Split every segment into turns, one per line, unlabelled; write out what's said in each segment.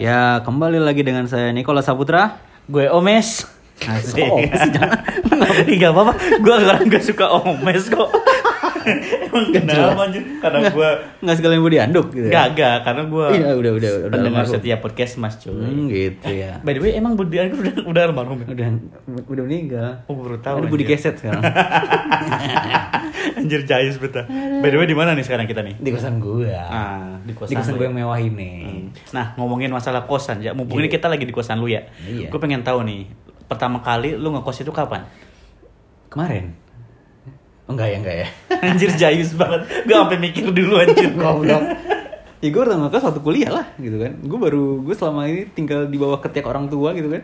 Ya kembali lagi dengan saya Nikola Saputra. Oh,
Gue Omes.
Asik. Jangan.
Ih, gak apa-apa, gue orang gak suka Omes kok. Emang
Gak
kenapa anjir? Karena gue
Nggak sekalian budi anduk gitu. ya?
gagak, karena gue
Iya, udah, udah, udah, udah
pendengar
almarhum.
setiap podcast mas cuy.
Hmm, gitu ya.
By the way, emang Budi Arif udah, udah almarhum ya?
Udah udah meninggal.
Oh, baru tahu.
Aduh, budi
anjir.
keset sekarang.
Anjir jayus betah. By the way, di mana nih sekarang kita nih?
di kosan gua.
Ah, di
Di
kosan.
kosan
lu
gua
ya?
yang mewah ini.
Nah, ngomongin masalah kosan ya. Mumpung ini kita lagi di kosan lu ya.
Iya.
Gue pengen tahu nih, pertama kali lu ngekos itu kapan?
Kemarin. Oh, enggak ya, enggak ya.
Anjir jayus banget. Gue sampai mikir dulu anjir.
Goblok. Ya gue pertama kali waktu kuliah lah gitu kan Gue baru, gue selama ini tinggal di bawah ketiak orang tua gitu kan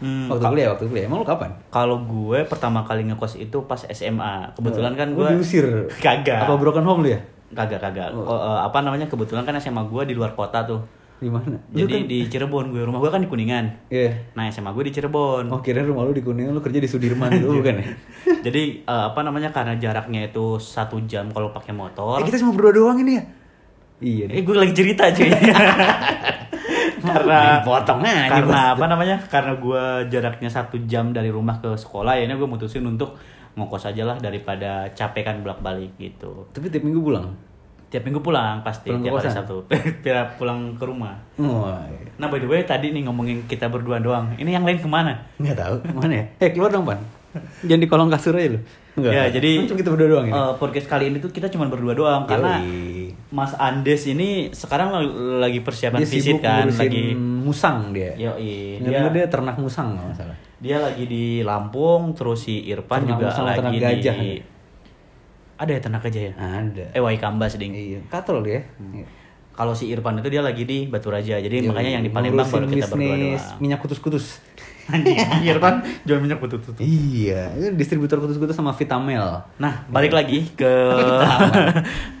Hmm,
Waktu kuliah, waktu kuliah Emang lu kapan?
Kalau gue pertama kali ngekos itu pas SMA. Kebetulan kan
Nah, Lu
gue
diusir
Kagak.
Apa broken home lu ya?
kagak kagak. Ko- eh, apa namanya? Kebetulan kan SMA gue di luar kota tuh.
Di mana? Lu
Jadi
kan-
di Cirebon gue. Rumah gue kan di Kuningan.
Iya
Nah, SMA gue di Cirebon.
Oh kirain rumah lu di Kuningan, lu kerja di Sudirman dulu bukan ya?
Jadi eh, apa namanya? Karena jaraknya itu satu jam kalau pakai motor.
Eh, kita cuma berdua doang ini ya? Iya deh.
Eh gue lagi cerita cuy.
Main
karena
potong aja,
karena
Bos.
apa namanya? Karena gue jaraknya satu jam dari rumah ke sekolah, ya gue mutusin untuk ngokos aja lah daripada capek kan bolak balik gitu.
Tapi tiap minggu pulang.
Tiap minggu pulang pasti
Pulang ke
tiap hari
kosan?
Sabtu. Tiap pulang ke rumah.
Wah,
Nah by the way tadi nih ngomongin kita berdua doang. Ini yang lain kemana?
nggak tahu mana ya? Eh keluar dong pan. Jangan di kolong kasur aja lu. Enggak. Kan
Ya jadi
cuma kita berdua doang ini.
eh, podcast kali ini tuh kita cuma berdua doang karena
Yoi.
Mas Andes ini sekarang lagi persiapan
dia sibuk
visit kan
ngurusin
lagi
musang dia.
Yoi,
Ingat
dia-
gua dia ternak musang nggak masalah.
Dia lagi di Lampung, terus si Irfan
Ternak
juga
musang,
lagi
ternak
di
gajah, ya?
Ada ya ternak gajah ya?
Ada.
Eh Wai Kambas ding.
Ah. Iya, katol dia. Iya.
Kalau si Irfan itu dia lagi di Batu Raja.
Yoi,
Jadi makanya yang di Palembang
ngurusin
baru kita berdua
bisnis
doang.
minyak kutus-kutus.
Anjing, Irfan jual minyak butut
Iya, itu distributor kutus-kutus sama Vitamel.
Nah, balik lagi ke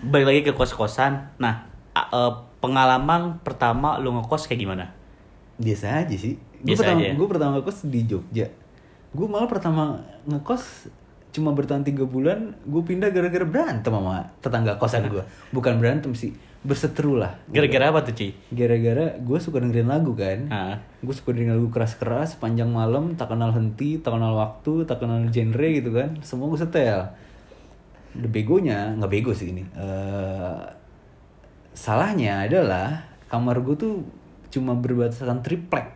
balik lagi ke kos-kosan. Nah, a- eh, pengalaman pertama lu ngekos kayak gimana?
biasa aja sih gue
Biasa
pertama
aja. ya?
gue pertama ngekos di Jogja gue malah pertama ngekos cuma bertahan tiga bulan gue pindah gara-gara berantem sama tetangga kosan gue bukan berantem sih berseteru lah
Nah. Gara-gara apa tuh, Ci?
gara-gara gue suka dengerin lagu kan
Ah.
gue suka dengerin lagu keras-keras panjang malam tak kenal henti tak kenal waktu tak kenal genre gitu kan semua gue setel the begonya nggak bego sih ini Eh, salahnya adalah kamar gue tuh cuma berbataskan triplek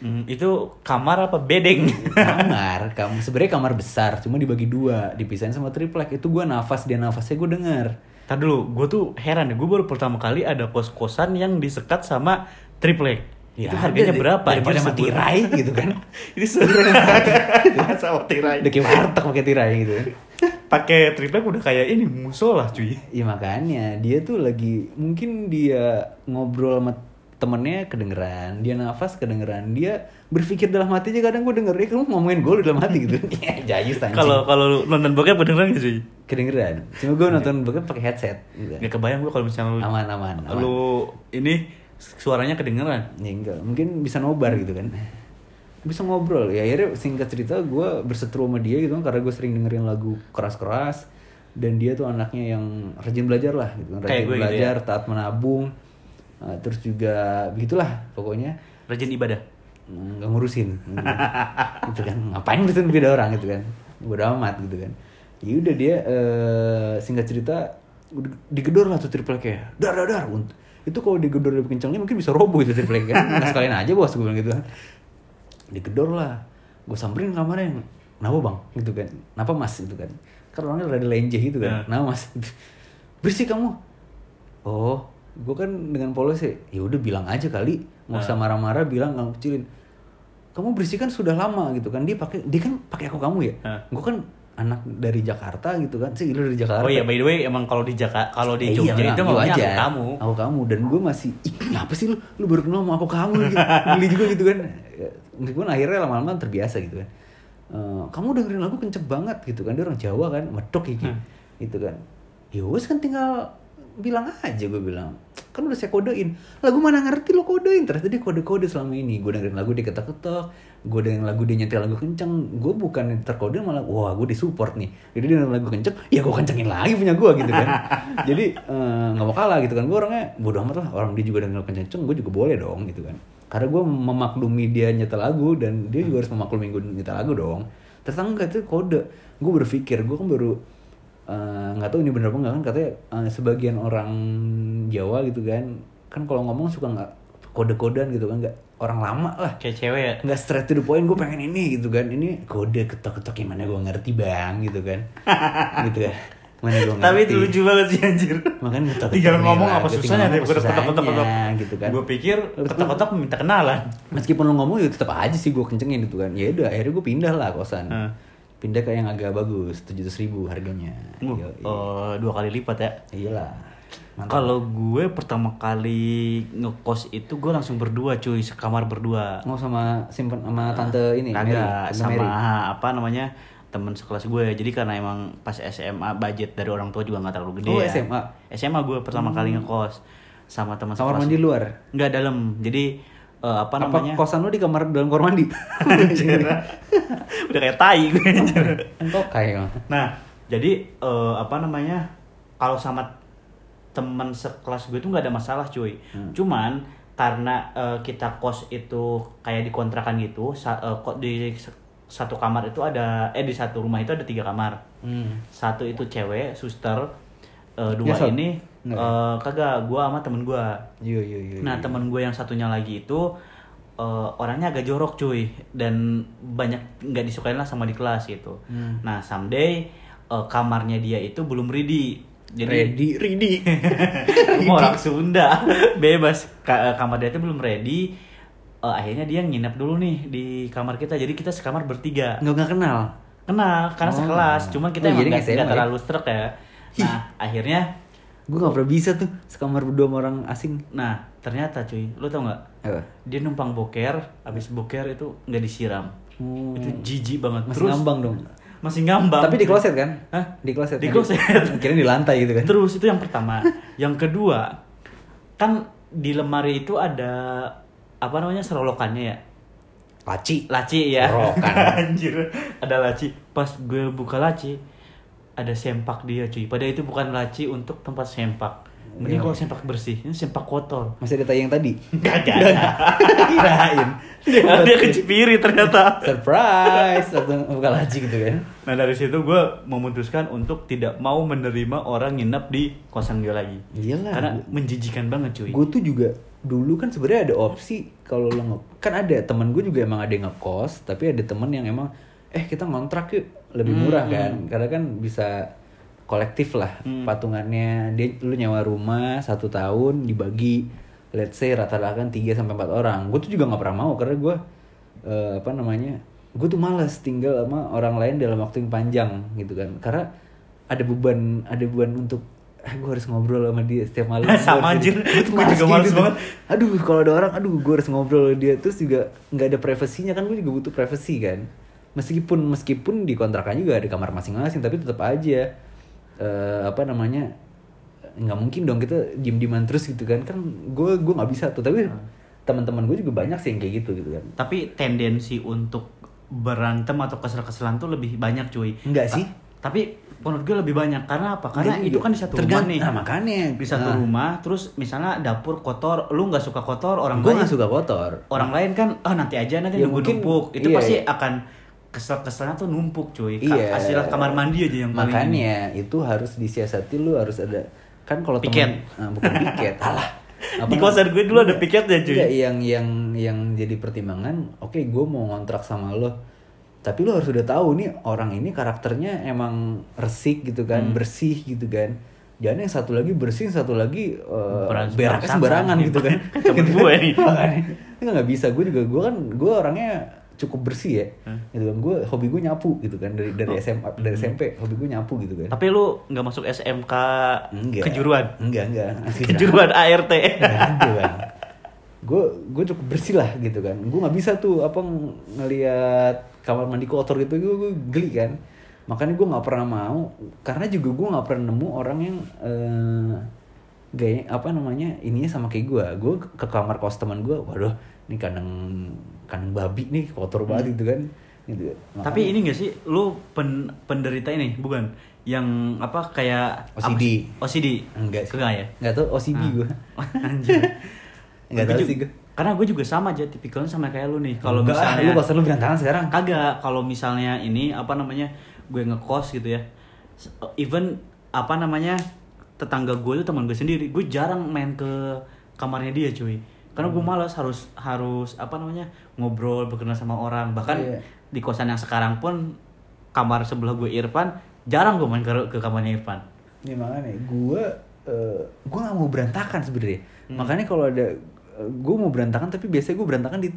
Hmm, itu kamar apa bedeng?
kamar kamu sebenarnya kamar besar cuma dibagi dua dipisahin sama triplek itu gue nafas dia nafasnya gue denger
Ntar dulu, gue tuh heran ya, gue baru pertama kali ada kos-kosan yang disekat sama triplek. itu harganya
dari-
berapa?
daripada
Anjir,
sama tirai gitu kan
Ini sebenarnya sama tirai.
udah kayak warteg pakai tirai gitu kan
Pakai triplek udah kayak ini musola cuy.
Ya makanya dia tuh lagi mungkin dia ngobrol sama temennya kedengeran, dia nafas kedengeran, dia berpikir dalam hati aja kadang gue denger, ya kamu ngomongin gue lu dalam hati gitu. Ya, Jayus anjing.
Kalau kalau lu nonton bokep beneran gak sih?
kedengeran, cuma gue nonton bokep pakai headset. gitu.
Gak kebayang gue kalau misalnya lu,
Aman aman. aman.
lu ini suaranya kedengeran.
Ya enggak, mungkin bisa nobar gitu kan. Bisa ngobrol. Ya akhirnya singkat cerita gue berseteru sama dia gitu kan karena gue sering dengerin lagu keras-keras dan dia tuh anaknya yang rajin belajar lah gitu kan.
Kayak
Rajin
gue gitu
belajar, taat menabung. eh, terus juga begitulah pokoknya
Rajin ibadah.
mm, nggak ngurusin gitu kan. Gitu kan. ngapain ngurusin beda orang gitu kan bodo amat gitu kan ya udah dia eh, singkat cerita udah digedor lah tuh triple ya dar dar dar Unt- itu kalau digedor lebih kencangnya mungkin bisa roboh itu triple kan nggak sekalian aja bos gue bilang gitu kan digedor lah gue samperin ke kamarnya kenapa bang gitu kan kenapa mas gitu kan karena orangnya rada lenje gitu kan
Nah.
kenapa mas bersih kamu Oh, gue kan dengan polos ya. Ya udah bilang aja kali, nggak usah marah-marah, bilang nggak kecilin. Kamu bersihkan sudah lama gitu kan? Dia pakai, dia kan pakai aku kamu ya.
Hah.
Gue kan anak dari Jakarta gitu kan, sih lu dari Jakarta.
Oh iya, by the way, emang kalau di Jakarta, kalau di
Eh,
Jogja
iya,
itu
bilang,
maunya
"Yo
aku kamu.
Aku kamu dan gue masih, ih ini apa sih lu? Lu baru kenal sama aku kamu gitu. Geli juga gitu kan. Ya, Meskipun akhirnya lama-lama terbiasa gitu kan. Eh, kamu dengerin lagu kenceng banget gitu kan. Dia orang Jawa Ya kan, medok gitu. Gitu kan. Ya wes kan tinggal bilang aja gue bilang. "Cek, kan udah saya kodein lagu mana ngerti lo kodein ternyata dia kode-kode selama ini gue dengerin lagu dia ketok-ketok gue dengerin lagu dia nyetel lagu kenceng gue bukan yang terkode malah wah gue disupport nih jadi dia dengerin lagu kenceng ya gue kencengin lagi punya gue gitu kan jadi eh, nggak mau kalah gitu kan gue orangnya bodo amat lah orang dia juga dengerin lagu kenceng gue juga boleh dong gitu kan karena gue memaklumi dia nyetel lagu dan dia juga harus memaklumi gue nyetel lagu dong ternyata enggak itu kode gue berpikir gue kan baru eh, nggak tahu ini bener apa enggak kan katanya eh, sebagian orang Jawa gitu kan kan kalau ngomong suka nggak kode-kodean gitu kan nggak orang lama lah
Kayak cewek ya.
nggak straight to the point gue pengen ini gitu kan ini kode ketok-ketok yang mana gue ngerti bang gitu kan gitu kan mana gue ngerti
Tapi itu lucu banget sih anjir.
Makanya ketok-ketok
tinggal ngomong
merah,
apa
tinggal
susahnya
ngomong apa
daripada ketok-ketok ketok.
susahnya, gitu kan.
Gue pikir ketok-ketok minta kenalan.
meskipun lo ngomong ya tetap aja sih gue kencengin gitu kan ya udah akhirnya gue pindah lah kosan
Hmm.
pindah ke yang agak bagus tujuh ribu harganya
Uh,
Yoi.
eh, dua kali lipat ya.
iyalah mantap
Kalau gue pertama kali ngekos itu gue langsung berdua cuy, sekamar berdua.
mau sama simpen sama tante ini Mary Tante
Kagak Nah, iya, sama
Mary.
apa namanya teman sekelas gue jadi karena emang pas SMA budget dari orang tua juga nggak terlalu gede
Oh,
ya.
SMA.
SMA gue pertama kali ngekos sama teman
Hmm. kamar
sekelas
mandi luar
nggak dalam jadi eh, apa
apa
namanya
kosan lo di kamar dalam kamar mandi
Anjir. udah kayak tai gue anjir.
entok kayak
nah jadi eh, apa namanya kalau sama teman sekelas gue tuh nggak ada masalah cuy cuman karena eh, kita kos itu kayak di kontrakan gitu sa- eh, kok di se- satu kamar itu ada eh di satu rumah itu ada tiga kamar
hmm.
satu itu cewek suster eh, dua
Nyesot?
ini
Nggak.
eh, kagak gue sama temen gue
yo yo yo
Nah temen gue yang satunya lagi itu eh, orangnya agak jorok cuy dan banyak nggak disukain lah sama di kelas gitu.
Hmm.
Nah someday eh, kamarnya dia itu belum ready. Jadi
ready ready
mau orang Sunda bebas Ka- eh, kamar dia itu belum ready. Eh, akhirnya dia nginep dulu nih di kamar kita. Jadi kita sekamar bertiga.
nggak nggak kenal
Kenal karena
Oh.
sekelas. Cuman kita
Oh,
emang
jadi
nggak
nggak SMA
nggak
ya?
terlalu strek ya. Nah akhirnya,
gue nggak pernah bisa tuh sekamar berdua sama orang asing
nah ternyata cuy, lo tau nggak?
apa
dia numpang boker habis boker itu nggak disiram
Hmm.
itu jijik banget
masih ngambang dong
masih ngambang
tapi di kloset kan
Hah?
di kloset
Di
kan?
kloset.
kirain di lantai gitu kan
terus itu yang pertama yang kedua kan di lemari itu ada apa namanya serolokannya ya
laci
laci ya
Serokan.
anjir ada laci pas gue buka laci ada sempak dia cuy padahal itu bukan laci untuk tempat sempak mending
Iya.
kalau sempak bersih ini sempak kotor
masih ada tai yang tadi
Gak
Udah nggak? kirain
dia, dia kecipiri ternyata
surprise langsung buka laci gitu kan
Nah dari situ gue memutuskan untuk tidak mau menerima orang nginep di kosan gue lagi.
Iyalah,
Karena
Nah, gua-
menjijikan banget cuy.
gue tuh juga dulu kan sebenarnya ada opsi kalau lo nge kan ada teman gue juga emang ada yang ngekos tapi ada teman yang emang eh kita ngontrak yuk lebih murah kan karena kan bisa kolektif lah patungannya dia lu nyewa rumah satu tahun dibagi let's say rata-rata kan 3 sampai empat orang gue tuh juga nggak pernah mau karena gue eh, apa namanya gue tuh males tinggal sama orang lain dalam waktu yang panjang gitu kan karena ada beban ada beban untuk ah gue harus ngobrol sama dia setiap malam Gua
Sama
harus
anjir.
jadi-
Gua juga
Pasti
males
gitu.
banget.
Aduh, kalau ada orang, aduh, gue harus ngobrol sama dia. Terus juga nggak ada privasinya kan, gue juga butuh privasi kan. Meskipun meskipun di kontrakan juga ada kamar masing-masing, tapi tetap aja eh, apa namanya nggak mungkin dong kita diem dieman terus gitu kan. Kan gue gue nggak bisa tuh.
Hmm.
Tapi teman-teman gue juga banyak sih yang kayak gitu gitu kan.
Tapi tendensi untuk berantem atau kesel-keselan tuh lebih banyak cuy.
Enggak
Ta-
sih.
Tapi menurut gue lebih banyak karena apa? Karena
Jadi
itu kan di satu
tergan-
rumah nih.
Nah, makanya.
Di satu
Nah.
rumah, terus misalnya dapur kotor, lu nggak suka kotor, orang
Gue
lain
nggak suka kotor.
orang lain kan ah nanti aja nanti
Ya,
nunggu
mungkin-
numpuk itu
iya,
pasti
iya.
akan kesel-keselnya tuh numpuk cuy Ka- hasilnya kamar mandi aja yang paling ini.
makanya itu harus disiasati lu harus ada kan kalau
Piket.
temen Ah, bukan piket alah
Di kosan gue dulu ada piketnya, cuy.
Iya, yang yang yang jadi pertimbangan oke gue mau ngontrak sama lo tapi lo harus udah tahu nih orang ini karakternya emang resik gitu kan
Hmm.
bersih gitu kan jangan yang satu lagi bersih yang satu lagi eh,
Beran-
beraknya
berantakan.
sembarangan gitu kan
Temen gue nih.
Makanya. Ini nggak bisa gue juga gue kan gue orangnya cukup bersih ya gitu kan gue hobi gue nyapu gitu kan dari dari SMA dari SMP hobi gue nyapu gitu kan
Tapi lu nggak masuk SMK
Enggak.
kejuruan?
enggak enggak
Kejuruan ART.
gue gue cukup bersih lah gitu kan gue nggak bisa tuh apa ng- ngelihat kamar mandi kotor gitu gue, gue geli kan makanya gue nggak pernah mau karena juga gue nggak pernah nemu orang yang eh, gaya apa namanya ininya sama kayak gue gue ke kamar kos teman gue waduh ini kandang kandang babi nih kotor banget gitu kan gitu
Hmm. Tapi ini gak sih lu pen, penderita ini bukan yang apa kayak apa
OCD.
sih? OCD.
Enggak sih.
Enggak ya?
nggak tau OCD gue
Anjir.
Nggak
Gua
tahu
ju-
sih gua.
Karena gue juga sama aja tipikalnya sama kayak lu nih. Kalau
Enggak,
misalnya
lu kosan lu berantakan sekarang
kan kagak kalau misalnya ini apa namanya gue ngekos gitu ya S- even apa namanya tetangga gue tuh teman gue sendiri gue jarang main ke kamarnya dia cuy karena
Hmm.
gue malas harus harus apa namanya ngobrol berkenal sama orang bahkan
Iya.
di kosan yang sekarang pun kamar sebelah gue Irfan jarang gue main ke, ke kamarnya Irfan
Ya makanya gue eh gue nggak mau berantakan sebenarnya.
Hmm.
Makanya kalau ada gue mau berantakan tapi biasanya gue berantakan di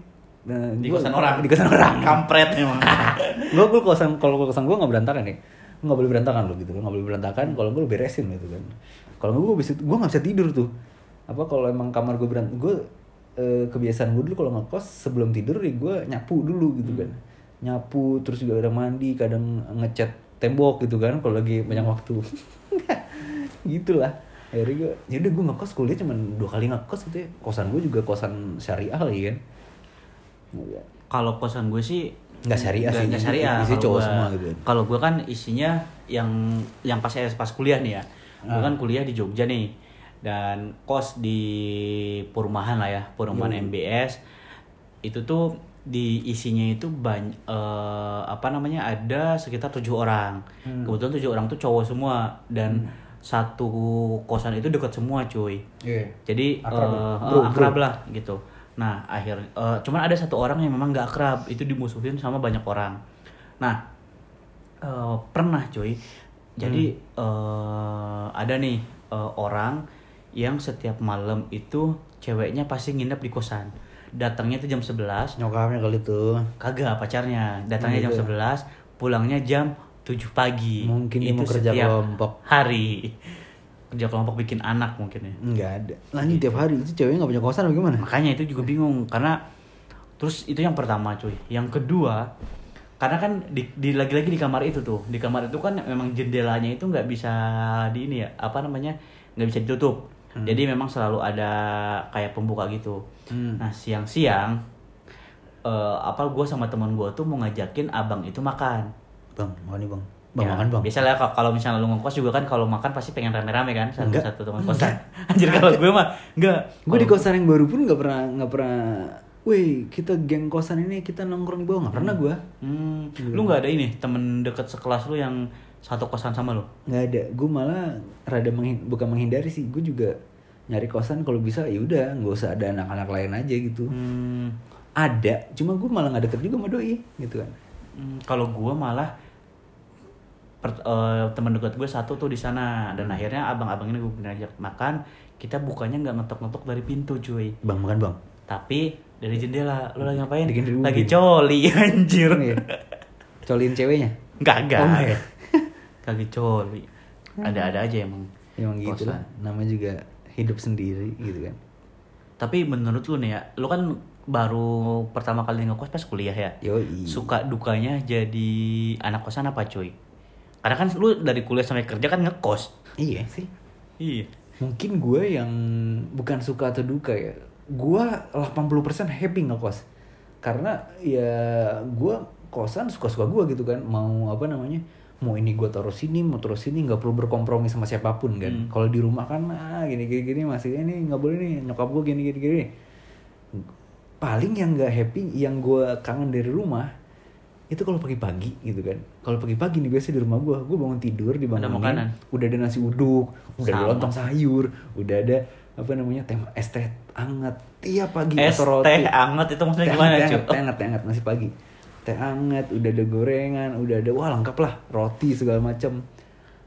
eh,
di
gua-
kosan orang
Di kosan orang.
kampret emang
gue gue kosan kalau kosan gue nggak berantakan nih. Nggak boleh berantakan lo gitu. Nggak boleh berantakan. Kalau gue beresin gitu kan. Kalau gue bisa gue nggak bisa tidur tuh. Apa kalau emang kamar gue berant gue kebiasaan gue dulu kalau ngekos sebelum tidur ya gue nyapu dulu gitu kan. Nyapu terus juga kadang mandi kadang ngecat tembok gitu kan kalau lagi banyak waktu. gitu lah akhirnya gue jadi gue ngekos kuliah cuman dua kali ngekos gitu ya kosan gue juga kosan syariah lagi kan
kalau kosan gue sih
Nggak syariah sih,
nggak
isi-
syariah
isi
kalau
cowok
gua.
semua gitu.
kalau gue kan isinya yang yang pas pas kuliah nih ya gue
Ah.
kan kuliah di Jogja nih dan kos di perumahan lah ya perumahan MBS itu tuh di isinya itu banyak eh, apa namanya ada sekitar tujuh orang
Hmm.
kebetulan tujuh orang tuh cowok semua dan satu kosan itu dekat semua cuy
Iya.
jadi
Akrab
eh,
lah.
eh,
Bro,
akrab lah gitu nah akhir eh, cuman ada satu orang yang memang nggak akrab itu dimusuhin sama banyak orang nah eh, pernah cuy jadi
Hmm.
eh, ada nih eh, orang yang setiap malam itu ceweknya pasti nginep di kosan datangnya itu jam 11
nyokapnya kali tuh
kagak pacarnya datangnya jam
Gitu.
11 pulangnya jam 7 pagi
Mungkin dia
itu
mau kerja
setiap
kelompok.
hari kerja kelompok bikin anak mungkin ya
nggak ada lanjut tiap hari itu ceweknya nggak punya kosan apa gimana
makanya itu juga bingung karena terus itu yang pertama cuy yang kedua karena kan di, di- lagi-lagi di kamar itu tuh di kamar itu kan memang jendelanya itu nggak bisa di ini ya apa namanya nggak bisa ditutup jadi memang selalu ada kayak pembuka gitu
Hmm.
nah siang-siang eh, apa gue sama teman gue tuh mau ngajakin abang itu makan
bang makan nih bang bang
Ya,
makan bang
Biasalah kalau- kalau misalnya lu ngekos juga kan kalau makan pasti pengen rame-rame kan
Enggak.
satu-satu teman kosan. Anjir kalau gue mah enggak.
gue di
Kalau-
kosan yang baru pun nggak pernah nggak pernah Wih, kita geng kosan ini kita nongkrong di bawah nggak pernah gue
Hmm, lu nggak ada ini temen deket sekelas lu yang satu kosan sama lu?
nggak ada gue malah rada menghin- bukan menghindari sih gue juga nyari kosan kalau bisa ya udah nggak usah ada anak-anak lain aja gitu
Hmm,
ada cuma gue malah nggak deket juga sama doi gitu kan
hmm, kalau gue malah per- eh, temen deket gue satu tuh di sana dan akhirnya abang-abang ini gue ngajak makan kita bukannya nggak ngetok-ngetok dari pintu cuy
bang makan bang
tapi dari jendela lu lagi ngapain?
Bikin ribut.
Lagi coli anjir.
Iya. colin ceweknya
Enggak enggak.
Oh, enggak ya?
Kagak coli. Ada-ada aja emang.
emang gitu
kosan.
lah namanya juga hidup sendiri gitu kan
Tapi menurut lu nih ya, lu kan baru pertama kali ngekos pas kuliah ya.
Yoi.
Suka dukanya jadi anak kosan apa cuy? Karena kan lu dari kuliah sampai kerja kan ngekos.
iya sih
Iya.
mungkin gue yang bukan suka atau duka ya gue 80% happy ngekos karena ya gue kosan suka-suka gue gitu kan mau apa namanya mau ini gue taruh sini mau taruh sini nggak perlu berkompromi sama siapapun kan
Hmm.
kalau di rumah kan ah, gini gini gini masih ini nggak boleh nih nyokap gue gini gini gini paling yang nggak happy yang gue kangen dari rumah itu kalau pagi-pagi gitu kan kalau pagi-pagi nih biasa di rumah gue gue bangun tidur di
Ada makanan?
udah ada nasi uduk udah ada
Sama.
lontong sayur, udah ada apa namanya teh es teh hangat tiap pagi
Es
atau roti.
teh anget itu maksudnya gimana
hangat,
cuy? Oh.
teh hangat, teh hangat masih pagi. Teh hangat, udah ada gorengan, udah ada wah lengkap lah roti segala macam.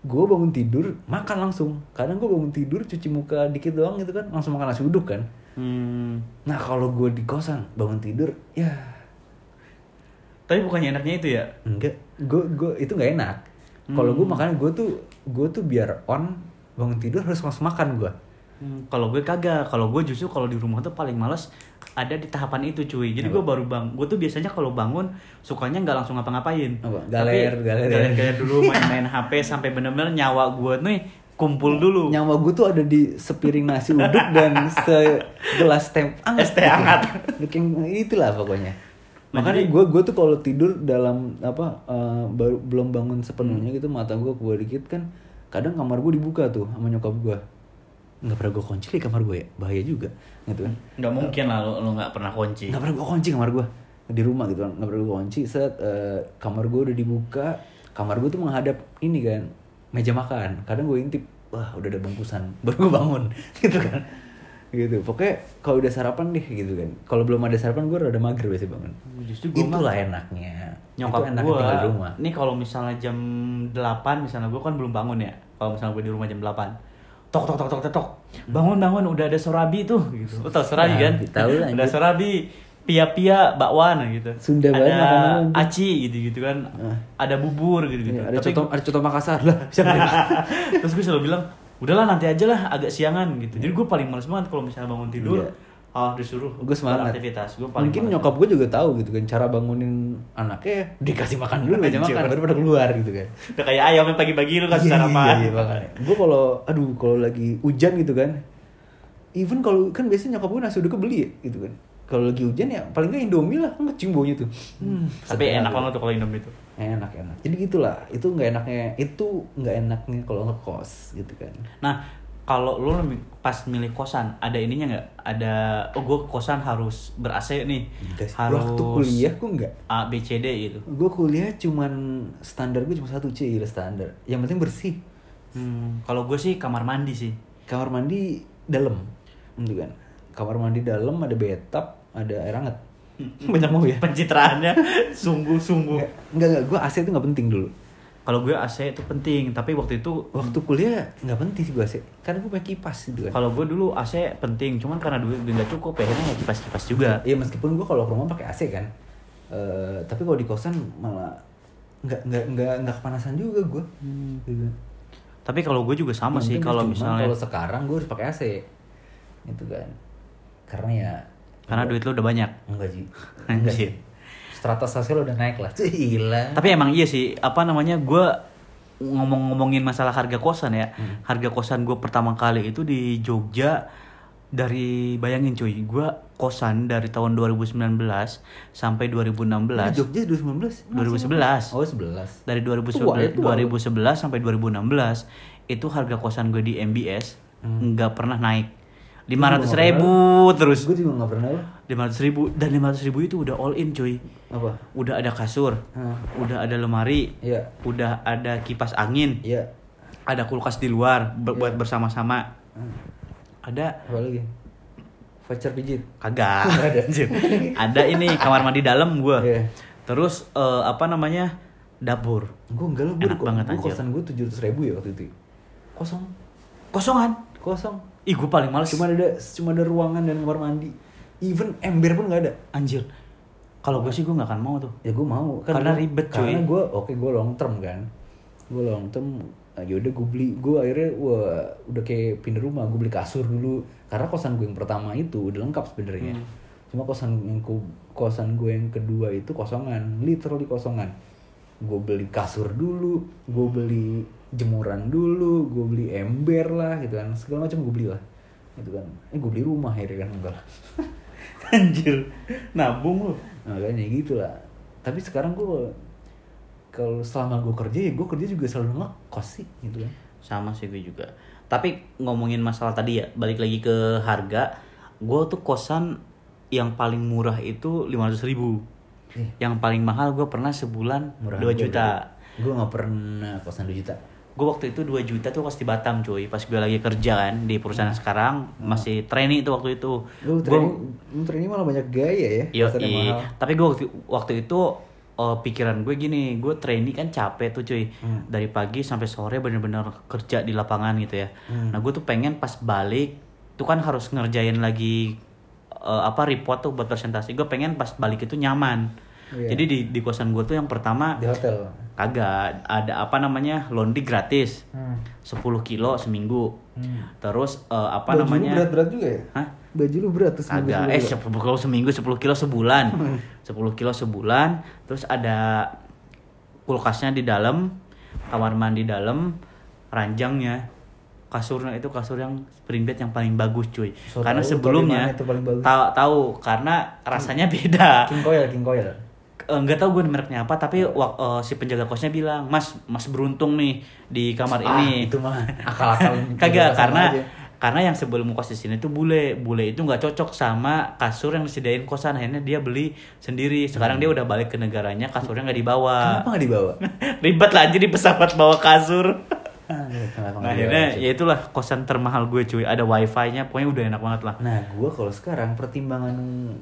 Gue bangun tidur makan langsung. Kadang gue bangun tidur cuci muka dikit doang gitu kan langsung makan nasi uduk kan.
Hmm.
Nah kalau gue di kosan bangun tidur ya
Tapi bukannya enaknya itu ya?
enggak gue gue itu nggak enak kalau
Hmm.
gue makan gue tuh gue tuh biar on bangun tidur harus langsung makan gue
Hmm, kalau gue kagak, kalau gue justru kalau di rumah tuh paling males ada di tahapan itu cuy. Jadi gue baru bang, gue tuh biasanya kalau bangun sukanya nggak langsung ngapa-ngapain.
Apa?
Tapi
Galer, galer, ya?
galer, galer dulu main-main HP sampai bener-bener nyawa gue nih kumpul dulu
nyawa gue tuh ada di sepiring nasi uduk dan segelas teh anget
Es teh hangat.
Gitu. Yang itulah pokoknya
Nah,
makanya
jadi-
gue gue tuh kalau tidur dalam apa eh, baru belum bangun sepenuhnya gitu mata gue kebuka dikit kan kadang kamar gue dibuka tuh sama nyokap gue nggak pernah gue kunci di kamar gue ya bahaya juga gitu kan
nggak mungkin lah lo lo nggak pernah kunci
nggak pernah gue kunci kamar gue di rumah gitu kan nggak pernah gue kunci set eh, kamar gue udah dibuka kamar gue tuh menghadap ini kan meja makan kadang gue intip wah udah ada bungkusan baru gue bangun gitu kan gitu pokoknya kalau udah sarapan deh gitu kan kalau belum ada sarapan gue udah mager biasanya bangun
Justru gua
itulah enaknya itu
nyokap
enaknya
gue
tinggal di rumah
nih kalau misalnya jam 8 misalnya gue kan belum bangun ya kalau misalnya gue di rumah jam 8 tok tok tok tok tok tok bangun bangun udah ada sorabi tuh gitu lo tau sorabi
Sorabi,
kan
Hmm. Oh, tahu lah,
udah
anjir.
sorabi pia pia bakwan gitu
Sunda banget
ada
makanan, anjir.
aci gitu gitu kan ada bubur gitu gitu
Iya, ada contoh ada contoh Makassar lah siapa yang-
terus gue selalu bilang udahlah nanti aja lah agak siangan gitu jadi gue paling males banget kalau misalnya bangun tidur
Iya.
ah disuruh
gue semangat
aktivitas gue paling
mungkin
males.
nyokap gue juga tahu gitu kan cara bangunin anaknya ya, dikasih makan dulu aja
Anjir.
makan baru pada keluar gitu kan
udah kayak ayam yang pagi-pagi lu
Iya,
kasih sarapan
gue kalau aduh kalau lagi hujan gitu kan even kalau kan biasanya nyokap gue nasi udah kebeli ya, gitu kan kalau lagi hujan ya paling nggak indomie lah kan kecium baunya tuh hmm,
tapi
sedap.
enak banget tuh kalau Indomie tuh
enak enak jadi gitulah itu nggak enaknya itu nggak enaknya kalau ngekos gitu kan
nah kalau lu lem- pas milih kosan ada ininya nggak ada oh gue kosan harus ber AC nih
Guys,
harus
waktu kuliah gue nggak
A B C D gitu
gue kuliah cuman standar gue cuma satu c gila standar yang penting bersih
hmm, kalau gue sih kamar mandi sih
kamar mandi dalam gitu kan kamar mandi dalam ada bathtub ada air hangat
Hmm.
banyak mau ya
pencitraannya sungguh-sungguh
Nggak, nggak, nggak. Gue AC itu nggak penting dulu.
kalau gue AC itu penting tapi waktu itu
Waktu kuliah nggak penting sih gue AC. Karena gue pakai kipas gitu kan.
kalau gue dulu AC penting cuman karena duit udah nggak cukup ya akhirnya ya kipas-kipas juga
Iya meskipun gue kalau ke rumah pakai AC kan. Eh, tapi kalau di kosan malah nggak nggak nggak nggak kepanasan juga gue. Gitu.
tapi kalau gue juga sama sih
Yang penting
kalau
Iya, cuman
misalnya
kalau sekarang gue harus pakai AC. Gitu kan. Karena ya.
karena duit lu udah banyak
Enggak sih. Enggak
Anjir.
sih. Strata sosial udah naik lah. Tuh gila.
Tapi emang iya sih, apa namanya gue ngomong-ngomongin masalah harga kosan ya. Harga kosan gue pertama kali itu di Jogja dari bayangin cuy, gue kosan dari tahun 2019 sampai 2016.
Ini Jogja 2019.
2011.
Oh 11.
Dari 2011,
Tua ya, tua.
2011 sampai 2016 itu harga kosan gue di MBS nggak pernah naik. 500
nggak
ribu terus
Gue juga nggak pernah lah.
500 ribu dan 500 ribu itu udah all in cuy
Apa?
udah ada kasur
Hmm.
udah ada lemari
Iya.
udah ada kipas angin
Iya.
ada kulkas di luar ber- buat bersama-sama ada
Apa lagi? Voucher pijit.
kagak
Nggak ada.
Anjir. ada ini kamar mandi dalam gua
Iya.
terus eh, apa namanya dapur
Gue enggak lah, gue
Enak banget, anjir.
kosan gue tujuh ratus ribu ya waktu itu. Kosong,
kosongan
kosong.
ih gua paling males
Cuma ada, cuma ada ruangan dan kamar mandi. Even ember pun nggak ada.
anjir kalau gue sih gue nggak akan mau tuh
Ya gue mau.
Karena
gua-
ribet, cuy.
Karena gue, oke gue long term kan. Gue long term. ah, Yaudah gue beli, gue akhirnya wah, udah kayak pindah rumah. Gue beli kasur dulu. Karena kosan gue yang pertama itu udah lengkap sebenarnya.
Hmm.
Cuma kosan yang ku- kosan gue yang kedua itu kosongan, literally kosongan. Gue beli kasur dulu, gue beli jemuran dulu, gue beli ember lah gitu kan, segala macam gue beli lah. Gitu kan. Eh gue beli rumah akhirnya kan enggak lah.
anjir nabung lu
makanya gitu lah tapi sekarang gue kalau selama gue kerja ya gue kerja juga selalu ngekos sih gitu kan
sama sih gue juga tapi ngomongin masalah tadi ya balik lagi ke harga gue tuh kosan yang paling murah itu 500.000 ribu
Ih.
yang paling mahal gue pernah sebulan
Murahan ya.
2
gua
juta
udah- gue nggak pernah kosan 2 juta
gue waktu itu 2 juta tuh pas di Batam cuy pas gue lagi kerja kan di perusahaan sekarang masih trainee tuh waktu itu
Hmm. lu
Gua-
training lu training malah banyak gaya ya kosan yang
Yoi.
mahal
Tapi gue waktu, waktu itu eh, pikiran gue gini, gue trainee kan capek tuh cuy.
Hmm.
Dari pagi sampai sore bener-bener kerja di lapangan gitu ya.
Hmm.
Nah gue tuh pengen pas balik, tuh kan harus ngerjain lagi eh, apa report tuh buat presentasi. Gue pengen pas balik itu nyaman.
Iya.
Jadi di, di kosan gue tuh yang pertama
di hotel
kagak ada apa namanya laundry gratis. 10 kilo seminggu. Terus eh, apa
Hmm. baju
namanya?
lu berat berat juga ya
Hah?
baju lu berat terus
Agak eh 10 kilo seminggu 10 kilo sebulan
Hmm.
10 kilo sebulan terus ada kulkasnya di dalam kamar mandi dalam ranjangnya kasurnya itu kasur yang spring bed yang paling bagus cuy
So,
karena
tahu tuh
sebelumnya
di mana itu paling bagus?
tahu tahu karena rasanya beda
King Coil, King Coil.
Eh, nggak tahu gue mereknya apa tapi wak- eh, si penjaga kosnya bilang mas mas beruntung nih di kamar
Ah,
ini
itu mah akal-akal
kagak
sama
karena
aja.
karena yang sebelum kos di sini tuh bule bule itu nggak cocok sama kasur yang disediain kosan akhirnya dia beli sendiri sekarang dia udah balik ke negaranya kasurnya nggak dibawa
Hmm. Kenapa nggak dibawa?
ribet lah jadi pesawat bawa kasur
Ah, Kenapa nggak
Nah, akhirnya
dibawa?
ya itulah kosan termahal gue cuy ada wifi-nya pokoknya udah enak banget lah
Nah, gue kalau sekarang pertimbangan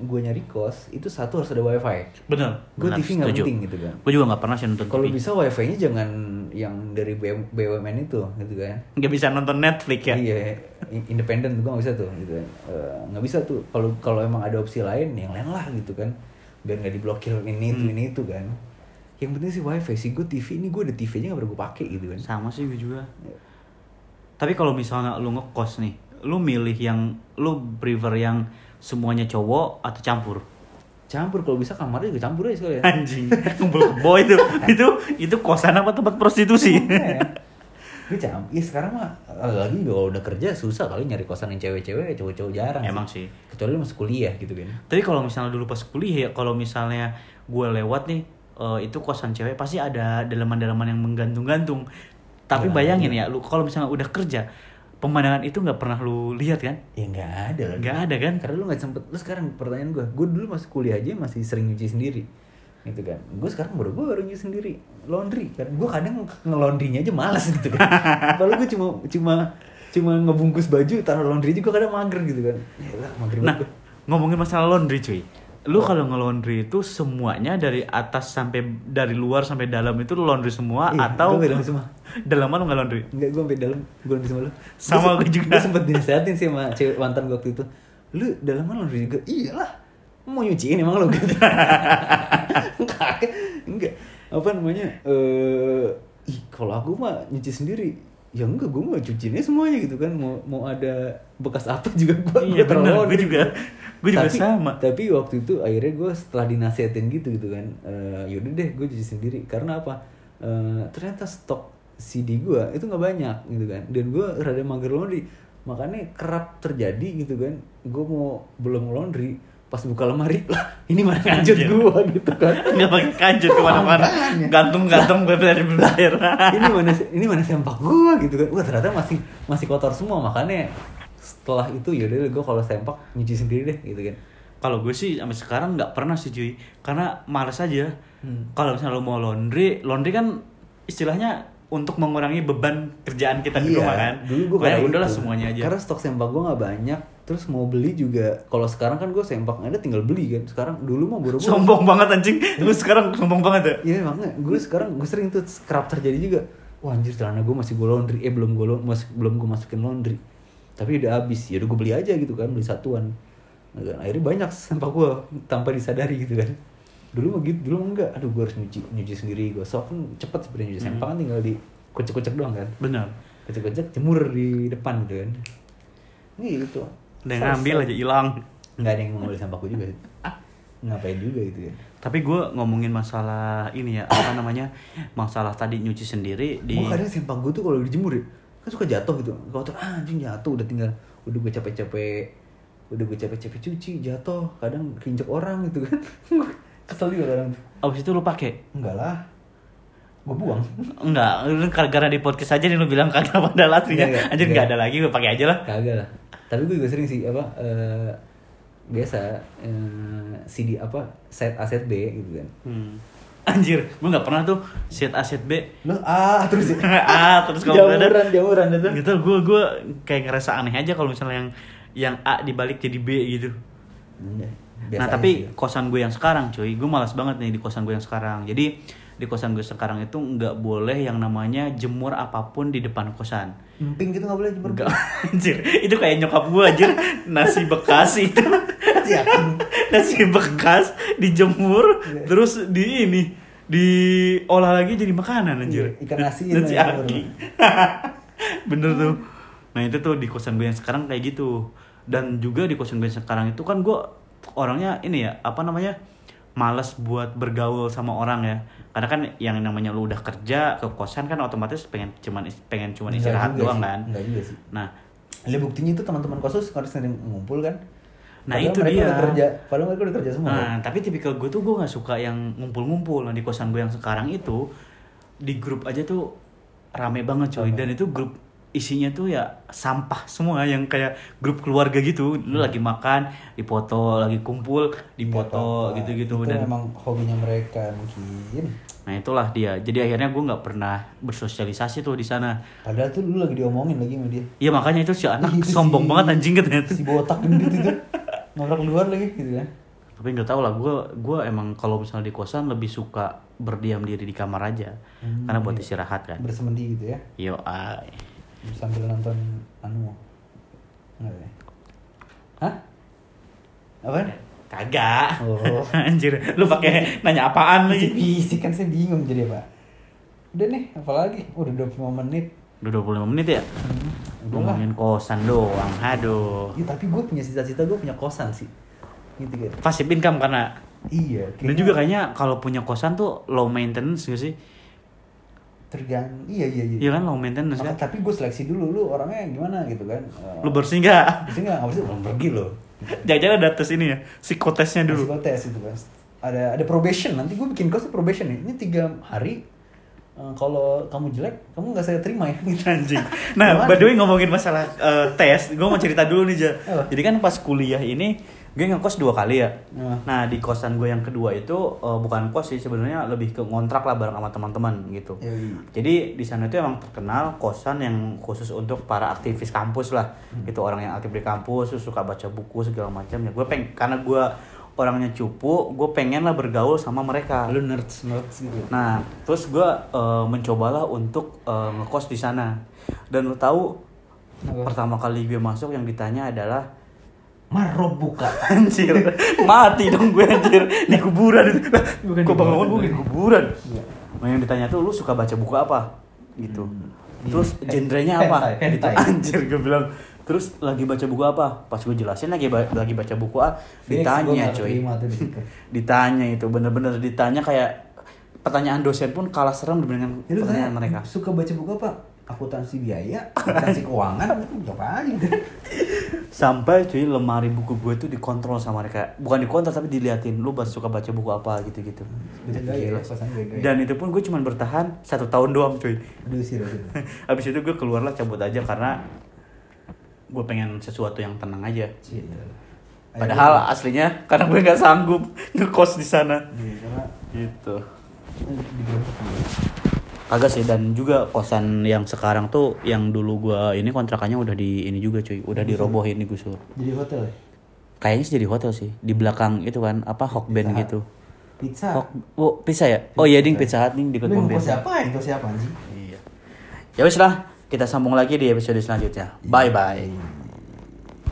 gue nyari kos itu satu harus ada wifi.
bener
Gue
bener,
TV nggak
setuju.
penting gitu kan.
gue juga nggak pernah sih nonton
Kalau
TV
bisa wifi-nya jangan yang dari BM BUMN itu gitu kan.
nggak bisa nonton Netflix ya
Iya, in- independen gue nggak bisa tuh gitu kan. Eh, nggak bisa tuh kalau kalau emang ada opsi lain yang lain lah gitu kan. Biar nggak diblokir ini itu ini itu kan. Yang penting sih wifi sih gue TV ini gue ada TV-nya nggak pernah gue pakai gitu kan.
sama sih gue juga tapi kalau misalnya lu ngekos nih lu milih yang lu prefer yang semuanya cowok atau campur
Campur kalau bisa kamarnya juga campur aja sekalian.
anjing ngumpul kebo itu itu itu kosan apa tempat prostitusi
Iya. Gue campur. Ya sekarang mah lagi juga kalau udah kerja susah kali nyari kosan yang cewek-cewek, cowok-cowok jarang.
emang sih
Kecuali lu masuk kuliah gitu kan.
tapi kalau misalnya dulu pas kuliah ya kalau misalnya gue lewat nih eh, itu kosan cewek pasti ada daleman-daleman yang menggantung-gantung tapi bayangin ya lu kalau misalnya udah kerja pemandangan itu nggak pernah lu lihat kan
Ya nggak ada lah.
nggak ada kan
Karena lu nggak sempet. Lu sekarang pertanyaan gue, gue dulu masuk kuliah aja masih sering nyuci sendiri, gitu kan. Gue sekarang baru gue baru nyuci sendiri, laundry. Kan gue kadang ngelondrinya aja malas gitu kan. Padahal gue cuma cuma cuma ngebungkus baju taruh laundry juga kadang mager gitu kan. Ya lah mager
Nah,
banget gua.
ngomongin masalah laundry cuy.
Oh.
Lu kalau nge-laundry itu semuanya dari atas sampai dari luar sampai dalam itu lu laundry semua
Iya,
atau
gua nggak dalam semua.
Dalaman lu nggak laundry?
Enggak, gue sampai dalam, gue laundry sama lu
Sama
Gua se-
gua juga.
Gua sempet dinasihatin sih sama cewek mantan gue waktu itu Lu dalaman laundry juga? Iyalah Mau nyuciin emang lu gitu Enggak, enggak Apa namanya eh Ih, kalau aku mah nyuci sendiri Ya enggak, gue mah cuciinnya semuanya gitu kan Mau mau ada bekas apa juga gue
Iya, bener, gua juga. Gua juga sama.
tapi waktu itu akhirnya gue setelah dinasihatin gitu gitu kan eh, yaudah deh gue cuci sendiri karena apa Eh, ternyata stok CD gue itu nggak banyak gitu kan dan gue rada mager laundry makanya kerap terjadi gitu kan gue mau belum laundry pas buka lemari lah ini mana kanjut
Anjir.
gue gitu kan
Nggak pakai kanjut kemana-mana.
Apaan ya?
Gantung-gantung beber-beber.
ini mana ini mana sempak gua gitu kan wah ternyata masih masih kotor semua makanya setelah itu ya yaudah gue kalau sempak nyuci sendiri deh gitu kan
Kalau gue sih sampai sekarang nggak pernah sih cuy, karena males aja.
Hmm.
Kalau misalnya lo mau laundry, laundry kan istilahnya untuk mengurangi beban kerjaan kita di
Iya,
rumah kan.
Dulu gue
Makanya
kayak
udahlah
gitu.
semuanya aja.
Karena stok sempak gue nggak banyak. Terus mau beli juga. Kalau sekarang kan gue sempak ada tinggal beli kan. Sekarang dulu mah buru-buru.
Sombong banget anjing. Lu sekarang sombong banget ya.
Iya makanya gue sekarang gue sering tuh kerap terjadi juga. Wah anjir celana gue masih gue laundry. Eh belum gue masih belum gue masukin laundry. Tapi udah habis. Ya udah gue beli aja gitu kan beli satuan. Nah, kan, Akhirnya banyak sempak gue tanpa disadari gitu kan. Dulu mah gitu, dulu mah enggak. Aduh gue harus nyuci nyuci sendiri. Gue sok kan cepet sebenarnya
Hmm.
nyuci sempak kan tinggal di kocek-kocek doang kan.
Benar.
Kocek-kocek jemur di depan gitu kan. Ini gitu.
Udah ngambil aja hilang.
Nggak ada yang mau ngambil sampahku juga. Ngapain juga gitu kan.
Tapi gue ngomongin masalah ini ya, apa namanya? Masalah tadi nyuci sendiri di
Gue kadang sampah gue tuh kalau dijemur ya, kan suka jatuh gitu. Kotor ah, anjing jatuh udah tinggal udah gue capek-capek udah gue capek-capek cuci jatuh kadang kinjek orang gitu kan Gua kesel juga kadang
Abis itu lu pakai?
enggak lah gue buang
Enggak, lu gara-gara di podcast aja nih lu bilang kagak ada
Iya, iya,
lastinya. Anjir
iya.
enggak ada lagi, gue pakai aja lah.
kagak lah tapi gue juga sering sih apa eh, biasa eh, CD apa set A set B gitu kan
Hmm. Anjir, gue nggak pernah tuh set A set B.
Lu ah terus ya.
ah, terus kalau nggak ada
jamuran jamuran itu.
gitu gue gue kayak ngerasa aneh aja kalau misalnya yang yang A dibalik jadi B gitu.
Iya,
nah tapi
gitu.
kosan gue yang sekarang cuy gue malas banget nih di kosan gue yang sekarang jadi di kosan gue sekarang itu nggak boleh yang namanya jemur apapun di depan kosan
emping gitu nggak boleh jemur.
Enggak, anjir. Itu kayak nyokap gue anjir, nasi bekas itu.
Yakin.
nasi bekas dijemur
Iya.
terus di ini diolah lagi jadi makanan anjir.
Iya, ikan asin
Nasi
lah,
aki. Bener tuh. Nah, itu tuh di kosan gue yang sekarang kayak gitu. Dan juga di kosan gue yang sekarang itu kan gue orangnya ini ya, apa namanya? males buat bergaul sama orang ya karena kan yang namanya lu udah kerja ke kosan kan otomatis pengen cuman is- pengen cuman
Enggak
istirahat
juga
doang
sih,
kan
enggak juga sih
nah
Lihat buktinya itu teman-teman kosus kan sering ngumpul kan
Nah,
Padahal
itu
mereka
dia.
udah kerja padahal mereka udah kerja semua
Nah, tapi tipikal gue tuh gue nggak suka yang ngumpul-ngumpul. Nah, di kosan gue yang sekarang itu di grup aja tuh rame banget coy. Dan itu grup isinya tuh ya sampah semua yang kayak grup keluarga gitu. Lu lagi
Hmm.
makan, dipoto, lagi kumpul, dipoto
Apa-apa.
gitu-gitu
Iya, Nah, itu
dan
memang hobinya mereka mungkin
nah itulah dia. Jadi akhirnya gue nggak pernah bersosialisasi tuh di sana.
padahal tuh lu lagi diomongin lagi sama dia
Ya makanya itu si anak
Itu
sombong
si-
banget anjing gitu.
si botak gendut itu ngabrak luar lagi gitu kan
tapi nggak tahu lah gue gue emang kalau misalnya di kosan lebih suka berdiam diri di kamar aja
Hmm,
karena
iya.
buat istirahat kan
bersemedi gitu ya
yo ah. ay.
sambil nonton anu Enggak ya? hah apa
Iya. kagak
Oh.
anjir lu pakai nanya apaan
Isi
lagi
fisik kan saya bingung jadi apa udah nih apalagi udah 25 menit Hmm,
udah 25 menit ya
udah lah
ngomongin kosan doang aduh
Ya, tapi gue punya cita-cita gue punya kosan sih gitu kan
passive ya, income karena
iya
dan juga kayaknya kalau punya kosan tuh low maintenance gak sih
tergantung iya iya iya
iya kan low maintenance
Maka-
kan
tapi gue seleksi dulu lu orangnya gimana gitu kan Eh,
lu bersih nggak
Bisa nggak nggak bersih belum pergi loh
jangan-jangan ada tes ini ya psikotesnya dulu
Masih tes itu kan ada ada probation nanti gue bikin kos probation nih ini tiga hari eh, kalau kamu jelek kamu nggak saya terima ya gitu
Anjing. Nah, by the way ngomongin masalah eh, tes, gue mau cerita dulu nih, Ja.
Apa?
Jadi kan pas kuliah ini gue ngekos dua kali ya.
Apa?
Nah, di kosan gue yang kedua itu eh, bukan kos sih sebenarnya lebih ke ngontrak lah bareng sama teman-teman gitu.
Yoi.
Jadi di sana itu emang terkenal kosan yang khusus untuk para aktivis kampus lah.
Hmm.
Itu orang yang aktif di kampus, terus suka baca buku segala macam ya. Gue peng karena gue orangnya cupu, gue pengen lah bergaul sama mereka.
lu nerds nerds gitu
Nah, terus gue mencobalah untuk eh, ngekos di sana. Dan lo tahu
Apa?
pertama kali gue masuk yang ditanya adalah
marob buka
anjir mati dong gue anjir di kuburan Lah,
Bukan di
kok bangun
kuburan,
gue di
bukan.
kuburan
Iya.
Nah, yang ditanya tuh lu suka baca buku apa gitu
Iya.
terus genrenya apa
Hentai,
gitu
hentai.
anjir gue bilang terus lagi baca buku apa pas gue jelasin lagi ba- lagi baca buku ah
Fix, gua
ditanya
nggak
coy
terima tuh di situ.
ditanya itu bener-bener ditanya kayak pertanyaan dosen pun kalah serem dengan
Ya, lu tanya
pertanyaan mereka
suka baca buku apa akuntansi biaya akuntansi keuangan gitu apa aja gitu
sampai cuy lemari buku gue tuh dikontrol sama mereka bukan dikontrol tapi diliatin lu bas- suka baca buku apa gitu gitu
Beda gaya ya, pasangan beda gaya.
dan itu pun gue cuman bertahan satu tahun doang cuy
aduh serius itu.
habis itu gue keluarlah cabut aja karena gue pengen sesuatu yang tenang aja
Gitu. Akhirnya-
padahal aslinya karena gue nggak sanggup ngekos di sana
Iya, karena
gitu
eh, digerebek dulu.
Kagak sih dan juga kosan yang sekarang tuh yang dulu gua ini kontrakannya udah di ini juga cuy,
Mhm.
udah dirobohin digusur.
jadi hotel ya?
Kayaknya sih jadi hotel sih. Di belakang itu kan apa Hokben
Pizza Hut.
gitu.
pizza
Hok oh, pizza ya? Oh iya ding pizza hut ding di
Lu
Kebun
mau
Biasa.
siapa itu siapa anjing Eh,
Iya. Ya wis lah, kita sambung lagi di episode selanjutnya. Bye bye.